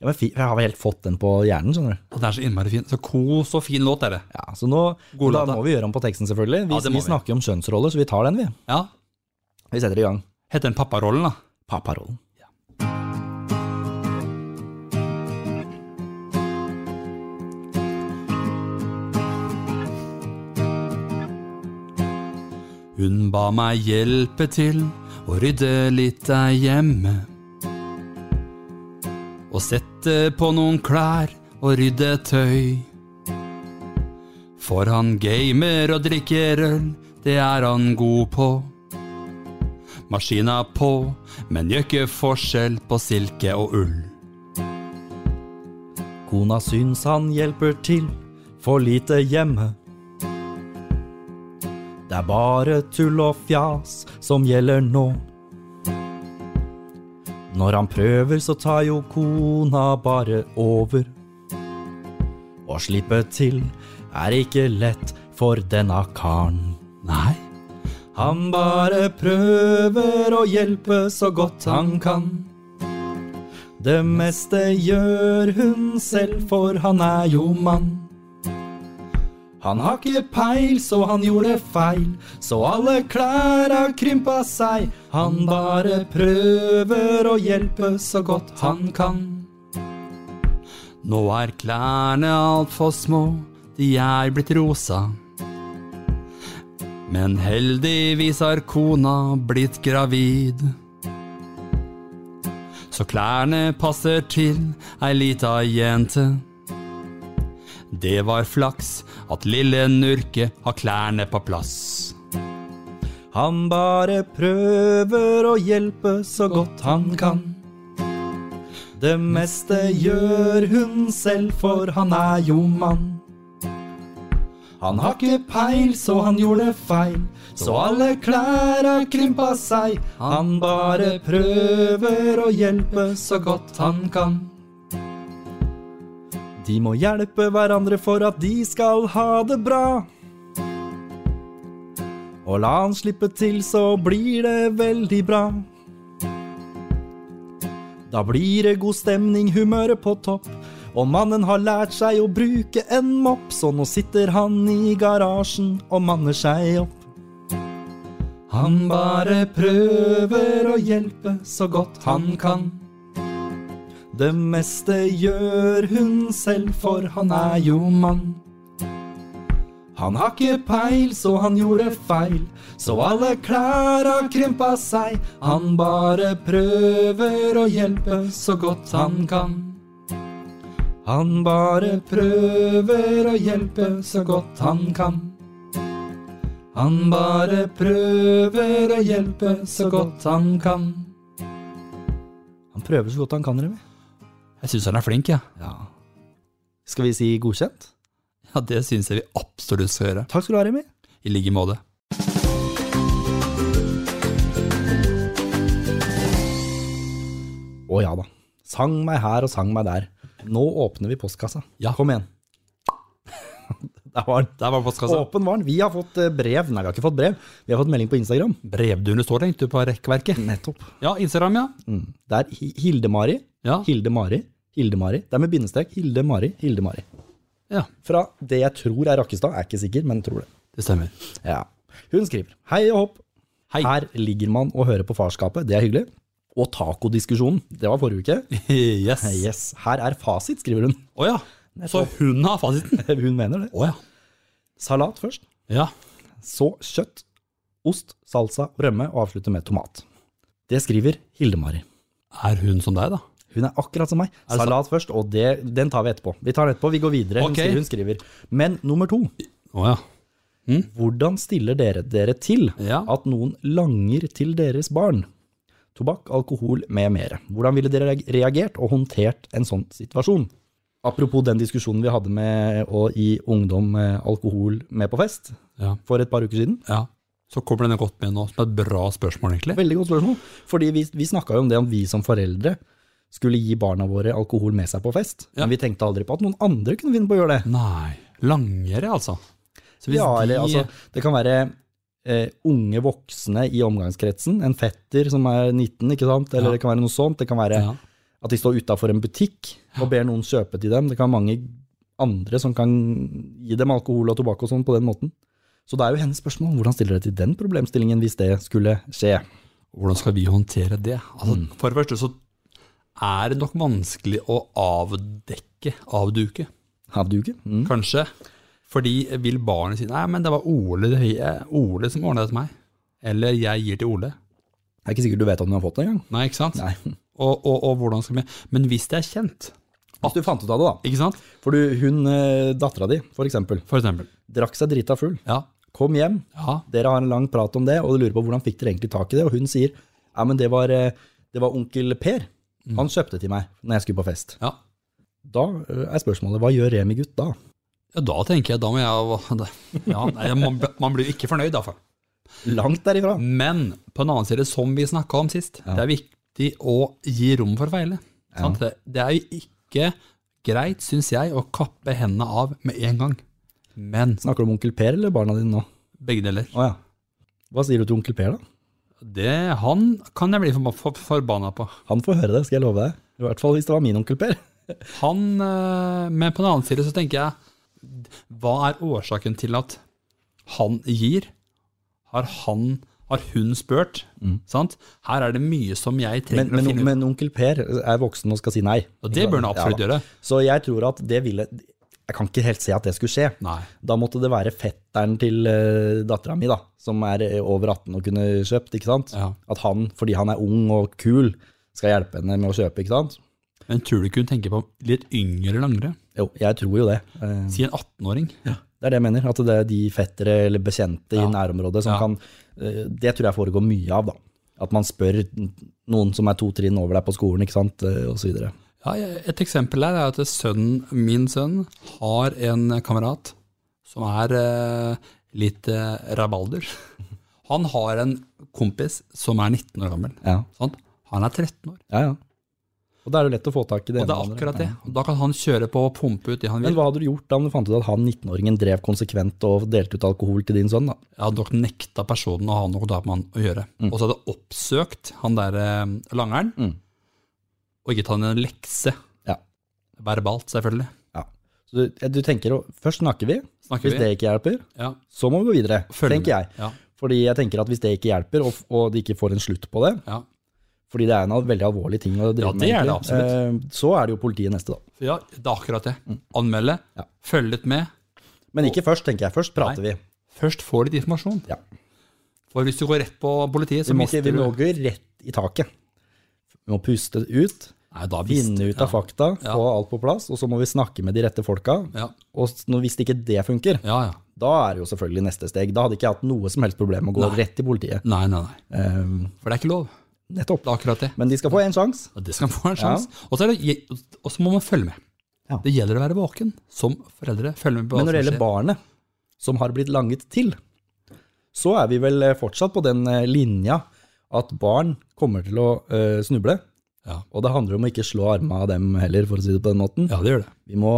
Ja, men fi- jeg har helt fått den på hjernen, skjønner du.
Og den er så innmari fin. Så kos og fin låt er det.
Ja, så nå,
God
Da
låt, da.
må vi gjøre om på teksten, selvfølgelig. Vi,
Ja, det må
vi
vi.
snakker jo om kjønnsroller, så vi tar den, vi.
Ja.
Vi setter i gang.
Heter den Papparollen, da?
Papparollen.
Hun ba meg hjelpe til å rydde litt der hjemme. Og sette på noen klær og rydde tøy. For han gamer og drikker øl, det er han god på. Maskina på, men gjør ikke forskjell på silke og ull.
Kona syns han hjelper til, for lite hjemme. Det er bare tull og fjas som gjelder nå. Når han prøver, så tar jo kona bare over. Å slippe til er ikke lett for denne karen.
Nei,
Han bare prøver å hjelpe så godt han kan. Det meste gjør hun selv, for han er jo mann. Han har ikke peil, så han gjorde feil, så alle klæra krympa seg. Han bare prøver å hjelpe så godt han kan.
Nå er klærne altfor små, de er blitt rosa. Men heldigvis har kona blitt gravid. Så klærne passer til ei lita jente. Det var flaks at lille Nurke har klærne på plass.
Han bare prøver å hjelpe så godt han kan. Det meste gjør hun selv, for han er jo mann. Han har ikke peil, så han gjorde feil. Så alle klæra krympa seg. Han bare prøver å hjelpe så godt han kan. De må hjelpe hverandre for at de skal ha det bra. Og la han slippe til, så blir det veldig bra. Da blir det god stemning, humøret på topp. Og mannen har lært seg å bruke en mopp, så nå sitter han i garasjen og manner seg opp. Han bare prøver å hjelpe så godt han kan. Det meste gjør hun selv, for han er jo mann. Han har ikke peil, så han gjorde feil. Så alle klær har krympa seg. Han bare prøver å hjelpe så godt han kan. Han bare prøver å hjelpe så godt han kan. Han bare prøver å hjelpe så godt han kan. Han prøver så godt han kan, Remi.
Jeg syns han er flink, jeg. Ja.
Skal vi si godkjent?
ja, det syns jeg vi absolutt skal gjøre.
Takk skal du ha, Remi.
I like måte.
Å ja da. Sang meg her og sang meg der. Nå åpner vi postkassa.
Ja.
Kom igjen. Der var den. Altså-
Der var postkassa.
Åpen var den. Vi har fått eh, brev. Nei, vi har ikke fått brev. Vi har fått melding på Instagram.
Brevduene står tenkte du, på rekkverket.
Nettopp.
Ja, Instagram, ja.
Mm. Det er Hi- Hilde-Mari.
Ja,
Hilde-Mari. Hilde-Mari. Det er med bindestrek. Hilde-Mari. Hilde-Mari.
ja
Fra det jeg tror er Rakkestad. Er ikke sikker, men tror det.
det stemmer.
Ja. Hun skriver Hei og hopp.
Hei.
Her ligger man og hører på farskapet. Det er hyggelig. Og tacodiskusjonen. Det var forrige uke.
yes. Å
Eh, Yes. Her er fasit, skriver hun.
ja. Så hun har fasiten.
Hun mener det.
Å ja.
Salat først.
Ja.
Så kjøtt, ost, salsa, rømme og avslutte med tomat. Det skriver Hilde-Mari.
Er hun som deg, da?
Hun er akkurat som meg.
det sant?
Salat først, og det, den tar vi etterpå. Vi tar den etterpå, vi går videre.
Ok.
Hun, skriver, hun skriver. Men nummer to.
Å ja.
Hvordan stiller dere dere til
Ja.
at noen langer til deres barn? Tobakk, alkohol med mere. Hvordan ville dere reag- reagert og håndtert en sånn situasjon? Apropos den diskusjonen vi hadde med å gi ungdom eh, alkohol med på fest
Ja.
for et par uker siden.
ja. Så kommer den godt med nå, som et bra spørsmål, egentlig.
Veldig godt spørsmål. Fordi vi, vi snakka jo om det om vi som foreldre skulle gi barna våre alkohol med seg på fest.
Ja.
Men vi tenkte aldri på at noen andre kunne finne på å gjøre det.
Nei. Langere, altså. Så hvis
Ja,
de-
eller, altså, det kan være eh, unge voksne i omgangskretsen. En fetter som er 19, ikke sant? eller
Ja.
det kan være noe sånt. Det kan være
ja.
at de står utafor en butikk og ber noen kjøpe til dem. Det kan være mange andre som kan gi dem alkohol og tobakk og sånn på den måten. Så det er jo hennes spørsmål. Hvordan stiller dere til den problemstillingen hvis det skulle skje?
Hvordan skal vi håndtere det? Altså,
Mm.
For det første så er det nok vanskelig å avdekke, avduke,
Har du ikke? Mm.
kanskje. Fordi vil barnet si nei, men det var Ole, det høye- Ole som ordna det til meg. Eller jeg gir til Ole.
Det er ikke sikkert du vet om du har fått det engang.
Nei, ikke sant?
Nei.
Og, og, og hvordan skal vi Men hvis det er kjent,
Hvis du fant ut av det, da.
ikke sant?
For du, hun, eh, dattera di, for eksempel,
For eksempel.
drakk seg drita full.
Ja.
Kom hjem,
ja.
dere har en lang prat om det, og du lurer på hvordan fikk dere egentlig tak i det, og hun sier ja, men det var, eh, det var onkel Per.
Mm.
Han kjøpte til meg når jeg skulle på fest.
Ja.
Da eh, er spørsmålet hva gjør Remi gutt da?
Ja, da tenker jeg, da må jeg ja, nei, man, man blir jo ikke fornøyd, iallfall.
Langt derifra.
Men på en annen side, som vi snakka om sist, det er viktig å gi rom for å feile. Sant? Det, det er jo ikke greit, syns jeg, å kappe hendene av med en gang. Men
Snakker du om onkel Per eller barna dine nå?
begge deler.
Å ja. Hva sier du til onkel Per, da?
Det, han kan jeg bli forba- for- forbanna på.
Han får høre det, skal jeg love deg. I hvert fall hvis det var min onkel Per.
Han, eh, men på den annen side så tenker jeg, hva er årsaken til at han gir? Har han, har hun spurt? Sant? Her er det mye som jeg
Mm. Men, men,
trenger å finne ut.
men onkel Per er voksen og skal si nei.
Og det bør han absolutt
Ja.
gjøre.
Så jeg tror at det ville Jeg kan ikke helt se at det skulle skje.
Nei.
Da måtte det være fetteren til uh, dattera mi, da, som er eh, over 18 og kunne kjøpt. ikke sant?
Ja.
At han, fordi han er ung og kul, skal hjelpe henne med å kjøpe. ikke sant?
Men tror du ikke hun tenker på litt yngre langere?
Jo, jeg tror jo det. Eh,
Si en 18-åring.
det er det jeg mener. At det er de fettere eller bekjente i nærområdet som
Ja.
kan eh, Det tror jeg foregår mye av, da. At man spør noen som er to trinn over deg på skolen, ikke sant, eh, og så videre.
Ja, et eksempel her er at sønnen, min sønn har en kamerat som er eh, litt eh, rabalder. Han har en kompis som er 19 år gammel.
Ja,
Sant? Han er 13 år.
ja. ja. Og da er det lett å få tak i det.
Og
ene
det er
eller
akkurat
andre.
det. Og Da kan han kjøre på og pumpe ut det han
Men
vil.
hva hadde du gjort da om du fant ut at han 19-åringen drev konsekvent og delte ut alkohol til din sønn? da?
Jeg hadde nok nekta personen å ha noe da med han å gjøre. Og så hadde jeg oppsøkt han der eh, langeren,
Mm.
og gitt han en lekse.
Ja.
Verbalt, selvfølgelig.
Ja. Så du, du tenker, å- Først snakker vi,
Snakker
hvis
vi?
det ikke hjelper,
Ja.
så må vi gå videre,
Følger
tenker
med.
jeg.
Ja.
Fordi jeg tenker at hvis det ikke hjelper, og, og de ikke får en slutt på det,
Ja.
Fordi det er en al- veldig alvorlig ting å drive
Ja, det er det
egentlig. Eh, Så er det jo politiet neste, da.
Ja, det er akkurat det. Anmelde,
Mm. Ja.
følg litt med.
Men ikke først, tenker jeg. Først prater vi.
Først får du litt informasjon.
Ja.
For hvis du går rett på politiet, så
Vi må ikke,
mister
vi
du
må ikke rett i taket. Vi må puste ut,
Nei, da visste-
vinne ut av fakta,
Ja.
få alt på plass, og så må vi snakke med de rette folka.
Ja,
Og s- når- hvis ikke det funker,
ja. ja.
da er det jo selvfølgelig neste steg. Da hadde ikke jeg hatt noe som helst problem med å gå
Nei.
rett til politiet.
Nei, nei, nei.
Eh,
For det er ikke lov.
nettopp.
Det er akkurat det.
Men de skal få én sjanse.
Og det skal man få en sjanse. Og så er det- og så må man følge med.
Ja.
Det gjelder å være våken som foreldre. Følge med på
Men når det
som
gjelder barnet som har blitt langet til, så er vi vel eh, fortsatt på den eh, linja at barn kommer til å eh, snuble.
Ja.
Og det handler om å ikke slå armene av dem heller, for å si det på den måten.
Ja, det gjør det.
Vi må,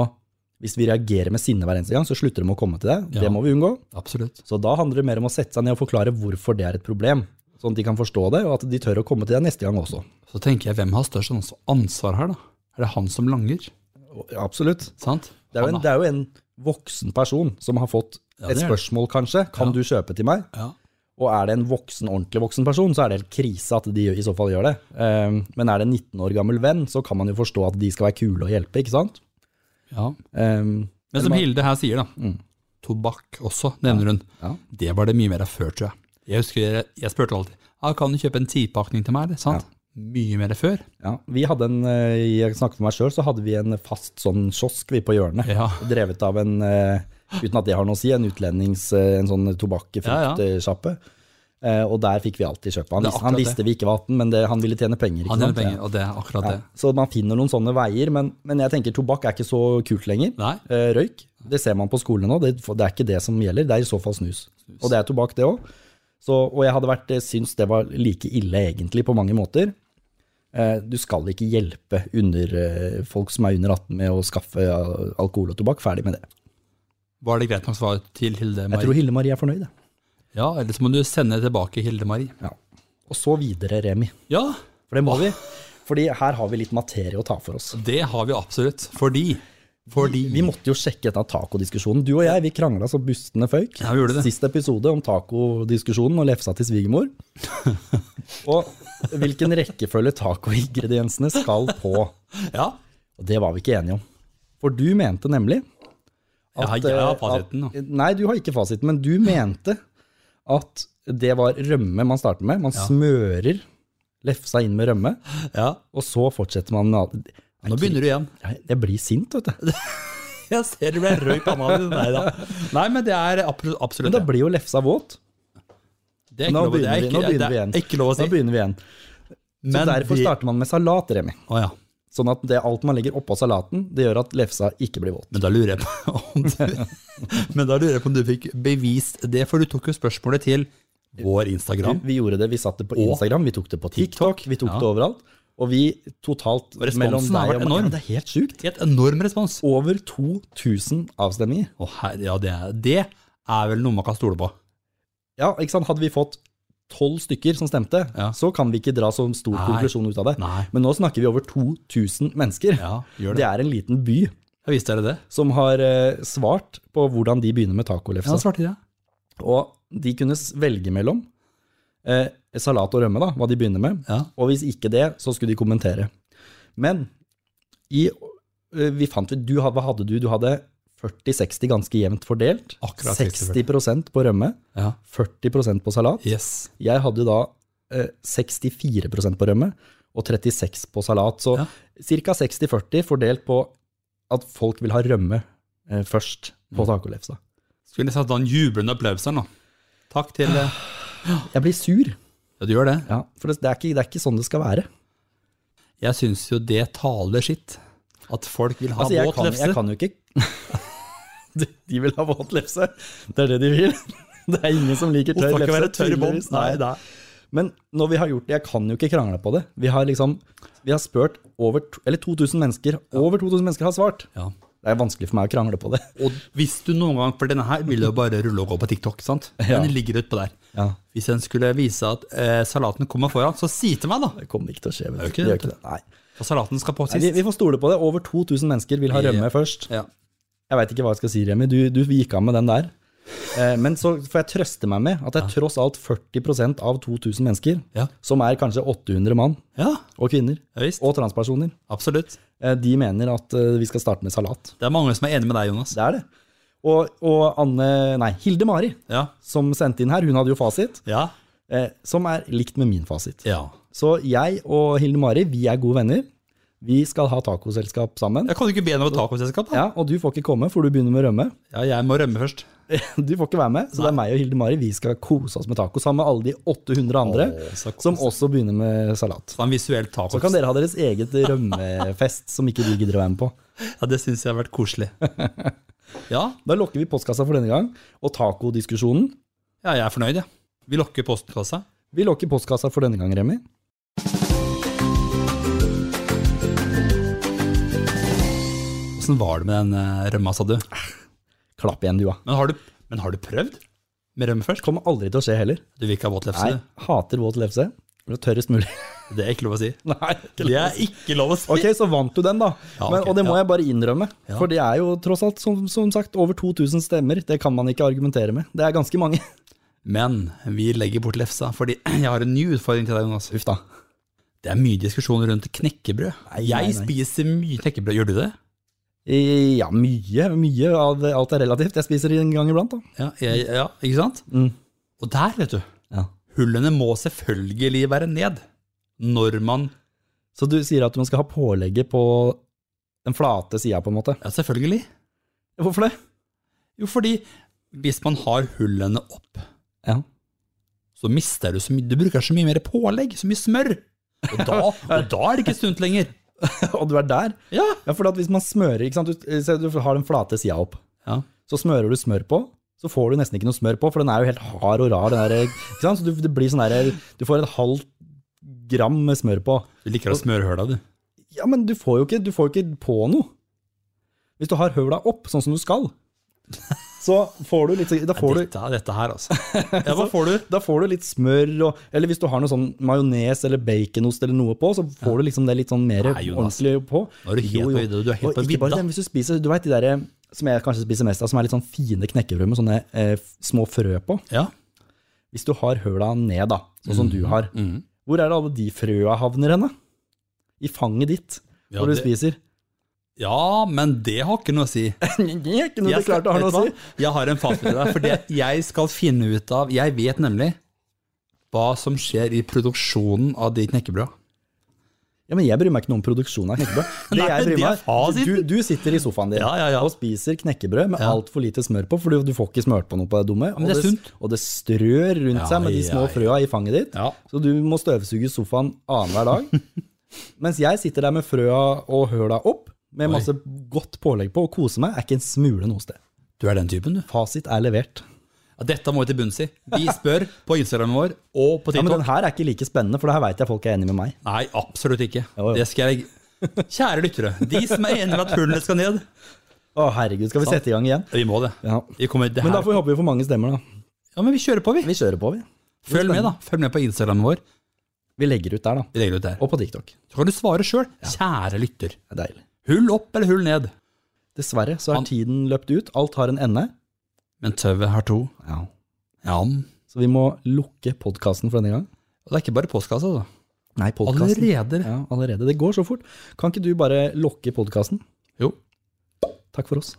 hvis vi reagerer med sinne hver eneste gang, så slutter de å komme til deg.
Ja.
Det må vi unngå.
Absolutt.
Så da handler det mer om å sette seg ned og forklare hvorfor det er et problem. Sånn at de kan forstå det, og at de tør å komme til deg neste gang også.
Så tenker jeg, hvem har størst ans- ansvar her, da? Er det han som langer?
Og- Absolutt.
Sant?
Det er jo en,
Han,
det er jo en voksen person som har fått
Ja,
et
det er det.
spørsmål, kanskje. Kan
Ja.
du kjøpe til meg?
da. Ja.
Og er det en voksen, ordentlig voksen person, så er det helt krise at de i så fall gjør det. Eh, Men er det en 19 år gammel venn, så kan man jo forstå at de skal være kule og hjelpe, ikke sant?
ja.
Eh,
Men som Hilde her sier, da. Tobakk også, nevner hun.
Mm. Ja.
Det var det mye mer av før, tror jeg. Jeg husker jeg, jeg spurte alltid ja, kan du kjøpe en tipakning til meg. eller?» Sant? Mye mer før.
Ja, vi hadde en, eh, jeg snakket med meg selv, så hadde vi en fast sånn kiosk vi på hjørnet,
Ja.
drevet av en, eh, uten at det har noe å si, en utlendings, eh, en sånn tobakkefruktsjappe. Eh, Og der fikk vi alltid kjøpe. Han,
Det er
vis- han
akkurat
visste vi ikke var 18, men det, han ville tjene penger. Ikke
Han tjener
sant?
penger, og det er akkurat
Ja.
det.
Så man finner noen sånne veier, men, men jeg tenker tobakk er ikke så kult lenger.
Nei.
Eh, Røyk, det ser man på skolene nå, det, det er ikke det som gjelder, det er i så fall snus. Og det er tobakk det også. Så, og jeg hadde vært, eh, syns det var like ille egentlig på mange måter. Eh, Du skal ikke hjelpe under, eh, folk som er under 18 med å skaffe eh, alkohol og tobakk, ferdig med det.
Var det greit nok svar til Hilde
Jeg tror
Marie?
Hille Marie er fornøyd. jeg.
Ja, eller så må du sende tilbake Hilde Marie.
Ja. Og så videre, Remi.
Ja,
For det må vi. Fordi her har vi litt materie å ta for oss.
det har vi absolutt. Fordi Fordi
Vi måtte jo sjekke denne tacodiskusjonen. Du og jeg vi krangla så bustene føyk.
Ja, vi gjorde det.
Sist episode om tacodiskusjonen og lefsa til svigermor. og hvilken rekkefølge tacoingrediensene skal på.
Ja,
Og det var vi ikke enige om. For du mente nemlig
Jeg har- jeg har
eh,
fasiten, da.
At, nei, du har ikke fasiten, men du mente at det var rømme man starter med. Man smører lefsa inn med rømme,
ja.
og så fortsetter man med alt.
Nå begynner du igjen.
Jeg- Jeg blir sint, vet du.
Jeg ser det ble rød i panna di. Nei da. Nei, men det er absolutt,
Men
absolutt
da blir jo lefsa våt.
det. Det er ikke
Nå
lov å- det er
begynner vi-
ikke-
nå begynner vi
det er
igjen.
Ikke lov å si.
Da begynner vi igjen. Så
Men
derfor
vi-
starter man med salat, Remi.
Å ja.
Sånn at det, alt man legger oppå salaten, det gjør at lefsa ikke blir våt.
Men da lurer jeg på om du, men da lurer jeg på om du fikk bevist det, for du tok jo spørsmålet til vår Instagram.
Vi gjorde det, vi satt det på
Og-
Instagram, vi tok det på TikTok, vi tok
ja.
det overalt. Og vi totalt
Responsen
mellom deg
har vært
og meg-
enorm.
Ja, Det er helt sjukt.
Helt enorm respons.
Over 2000 avstemninger.
Å, herre, ja, det, er- det er vel noe man kan stole på.
Ja, ikke sant? Hadde vi fått tolv stykker som stemte,
Ja.
så kan vi ikke dra så stor
Nei.
konklusjon ut av det.
Nei.
Men nå snakker vi over 2000 mennesker.
Ja, gjør
Det
det.
er en liten by
Jeg viste dere det.
som har eh, svart på hvordan de begynner med tacolefsa.
Ja, svarte jeg.
Og de kunne s- velge mellom eh, salat og rømme, da, hva de begynner med.
Ja.
Og hvis ikke det, så skulle de kommentere. Men i, eh, vi fant ut du, had- Hva hadde du? Du hadde 40-60 ganske jevnt fordelt.
Akkurat
60 på rømme,
ja.
40 på salat.
Yes.
Jeg hadde da eh, 64 på rømme og 36 på salat. Så
Ja.
ca. 60-40 fordelt på at folk vil ha rømme eh, først
Mm.
på tacolefsa.
Skulle jeg satt den jublende applausen, da. Takk til eh,
Jeg blir sur.
Ja, du gjør det.
Ja, for det, det, er ikke, det er ikke sånn det skal være.
Jeg syns jo det taler sitt. At folk vil ha
Altså, jeg,
våt
kan,
lefse.
jeg kan jo ikke de, de vil ha våt lefse. Det er det de vil. Det er ingen som liker
Hun
tørr
skal ikke
lefse.
være tørr i bånd.
tydeligvis. Nei,
Nei,
Men når vi har gjort det, jeg kan jo ikke krangle på det. Vi har liksom, vi har spurt over, to- eller 2000 mennesker. Over 2000 mennesker har svart.
Ja.
Det er vanskelig for meg å krangle på det.
Og hvis du noen gang, for denne her vil jo bare rulle og gå på TikTok, sant?
Ja.
Den ligger utpå der.
Ja.
Hvis en skulle vise at eh, salaten kommer foran, så si til meg, da!
Det kommer ikke til å skje. vet du.
Det er jo ikke
Det gjør
det,
ikke det. Nei.
For salaten skal på
Nei, vi,
sist.
vi får stole på det. Over 2000 mennesker vil ha
Ja.
rømme først.
Ja.
Jeg veit ikke hva jeg skal si, Remi. Du, du gikk av med den der. Eh, Men så får jeg trøste meg med at det er tross alt 40 av 2000 mennesker,
Ja.
som er kanskje 800 mann
Ja,
og kvinner,
ja visst.
og transpersoner,
Absolutt.
eh, de mener at eh, vi skal starte med salat.
Det er mange som er enig med deg, Jonas.
Det er det. Og, og Anne, nei, Hilde Mari,
Ja.
som sendte inn her, hun hadde jo fasit,
Ja.
eh, som er likt med min fasit.
ja.
Så jeg og Hilde Mari, vi er gode venner. Vi skal ha tacoselskap sammen.
Jeg kan du ikke be henne om et tacoselskap, da?
Ja, og du får ikke komme, for du begynner med å rømme.
Ja, jeg må rømme først.
Du får ikke være med, så det er meg og Hilde Mari. Vi skal kose oss med taco sammen med alle de 800 andre
Åh, så koselig.
som også begynner med salat.
Så en visuell taco.
Så kan dere ha deres eget rømmefest som ikke vi gidder å være med på.
Ja, det syns jeg har vært koselig. Ja,
Da lukker vi postkassa for denne gang, og tacodiskusjonen.
ja jeg er fornøyd, jeg. Ja. Vi lokker postkassa.
Vi lukker postkassa for denne gang, Remi.
Åssen var det med den eh, rømma, sa du?
Klapp igjen, du, da.
Men har du, men har du prøvd med rømme først?
Kommer aldri til å skje heller.
Du vil ikke ha våt lefse?
Nei, hater våt lefse. Det er Tørrest mulig.
Det er ikke lov å si.
Nei, ikke
Det er ikke lov å si!
Ok, så vant du den, da.
Ja,
Men,
ok,
og det må
ja.
jeg bare innrømme.
Ja.
For det er jo tross alt, som, som sagt, over 2000 stemmer. Det kan man ikke argumentere med. Det er ganske mange.
Men vi legger bort lefsa, fordi jeg har en ny utfordring til deg, Jonas.
Uff da.
Det er mye diskusjon rundt knekkebrød. jeg
nei, nei.
spiser mye knekkebrød. Gjør du det?
Eh, Ja, mye. mye av det, Alt er relativt. Jeg spiser en gang iblant, da.
Ja, jeg, ja ikke sant?
Mm.
Og der, vet du.
Ja.
Hullene må selvfølgelig være ned når man
Så du sier at man skal ha pålegget på den flate sida, på en måte.
Ja, selvfølgelig.
Hvorfor det?
Jo, fordi hvis man har hullene opp,
Ja.
så mister du så mye Du bruker så mye mer pålegg, så mye smør. Og da, og da er det ikke sunt lenger.
og du er der.
Ja.
Ja, for at hvis man smører ikke sant? Du, se, du har den flate sida opp,
Ja.
så smører du smør på. Så får du nesten ikke noe smør på, for den er jo helt hard og rar. Den der, ikke sant? Så du, det blir sånn der, du får et halvt gram med smør på.
Du liker å smøre høla, du.
Ja, men du får jo ikke, du får jo ikke på noe. Hvis du har høla opp, sånn som du skal, så får du litt, da får du,
Dette, dette her, altså. Ja, hva får du?
da får du litt smør, og, eller hvis du har noe sånn majones eller baconost eller noe på, så får du liksom det litt sånn mer
Nei, Jonas.
ordentlig på.
Nå er du helt
Jo, jo.
på vidda. Du er helt
Og
på
ikke bare
vidda.
det, men hvis du spiser, du vet de der som jeg kanskje spiser mest av, som er litt sånn fine knekkebrød med sånne eh, f- små frø på.
Ja.
Hvis du har høla ned, da, sånn som du
Mm.
har, hvor er det alle de frøa havner hen, da? I fanget ditt,
Ja,
når du
det-
spiser.
ja, men det har ikke noe å si.
Det er ikke noe
Jeg
det klart det har
vet
noe å
du
si.
hva? Jeg har en fasit til deg, for jeg skal finne ut av Jeg vet nemlig hva som skjer i produksjonen av de knekkebrøda.
Ja, men jeg bryr meg ikke noe om produksjonen av knekkebrød. Det
Nei,
jeg
det
bryr
er
meg, du,
fasiten.
du sitter i sofaen din
Ja, ja, ja.
og spiser knekkebrød med altfor lite smør på, for du, du får ikke smørt på noe på det dumme.
men det er
og,
sunt.
og det strør rundt
Ja,
seg med de
ja,
små
ja.
frøa i fanget ditt,
Ja.
så du må støvsuge sofaen annenhver dag. Mens jeg sitter der med frøa og høla opp, med masse godt pålegg på, og koser meg, er ikke en smule noe sted.
Du er den typen, du.
Fasit er levert.
Ja, dette må vi til bunns i. Vi spør på Instagramen vår og på
Ja, men
TikTok.
den her er ikke like spennende, for det her veit jeg folk er enig med meg.
Nei, absolutt ikke.
Jo, jo.
Det skal jeg legge Kjære lyttere, de som er enige med at hullene skal ned.
Å, herregud, skal vi sette i gang igjen?
Vi må det.
Ja.
Vi kommer det
Men da
her.
får vi håpe vi får mange stemmer, da.
Ja, men vi kjører på, vi.
Vi kjører på, vi.
Følg med, da. Følg med på Instagramen vår.
Vi legger ut der, da.
Vi legger ut der.
Og på TikTok.
Så kan du svare sjøl. Kjære lytter.
Det er deilig.
Hull opp eller hull ned.
Dessverre så er
Han-
tiden løpt ut. Alt har en ende.
Men tauet har to. Ja. Og
Så vi må lukke podkasten for denne gang.
det er ikke bare postkassa, altså.
Nei, podkasten.
Allerede.
Ja, allerede. Det går så fort. Kan ikke du bare lukke podkasten?
Jo.
Takk for oss.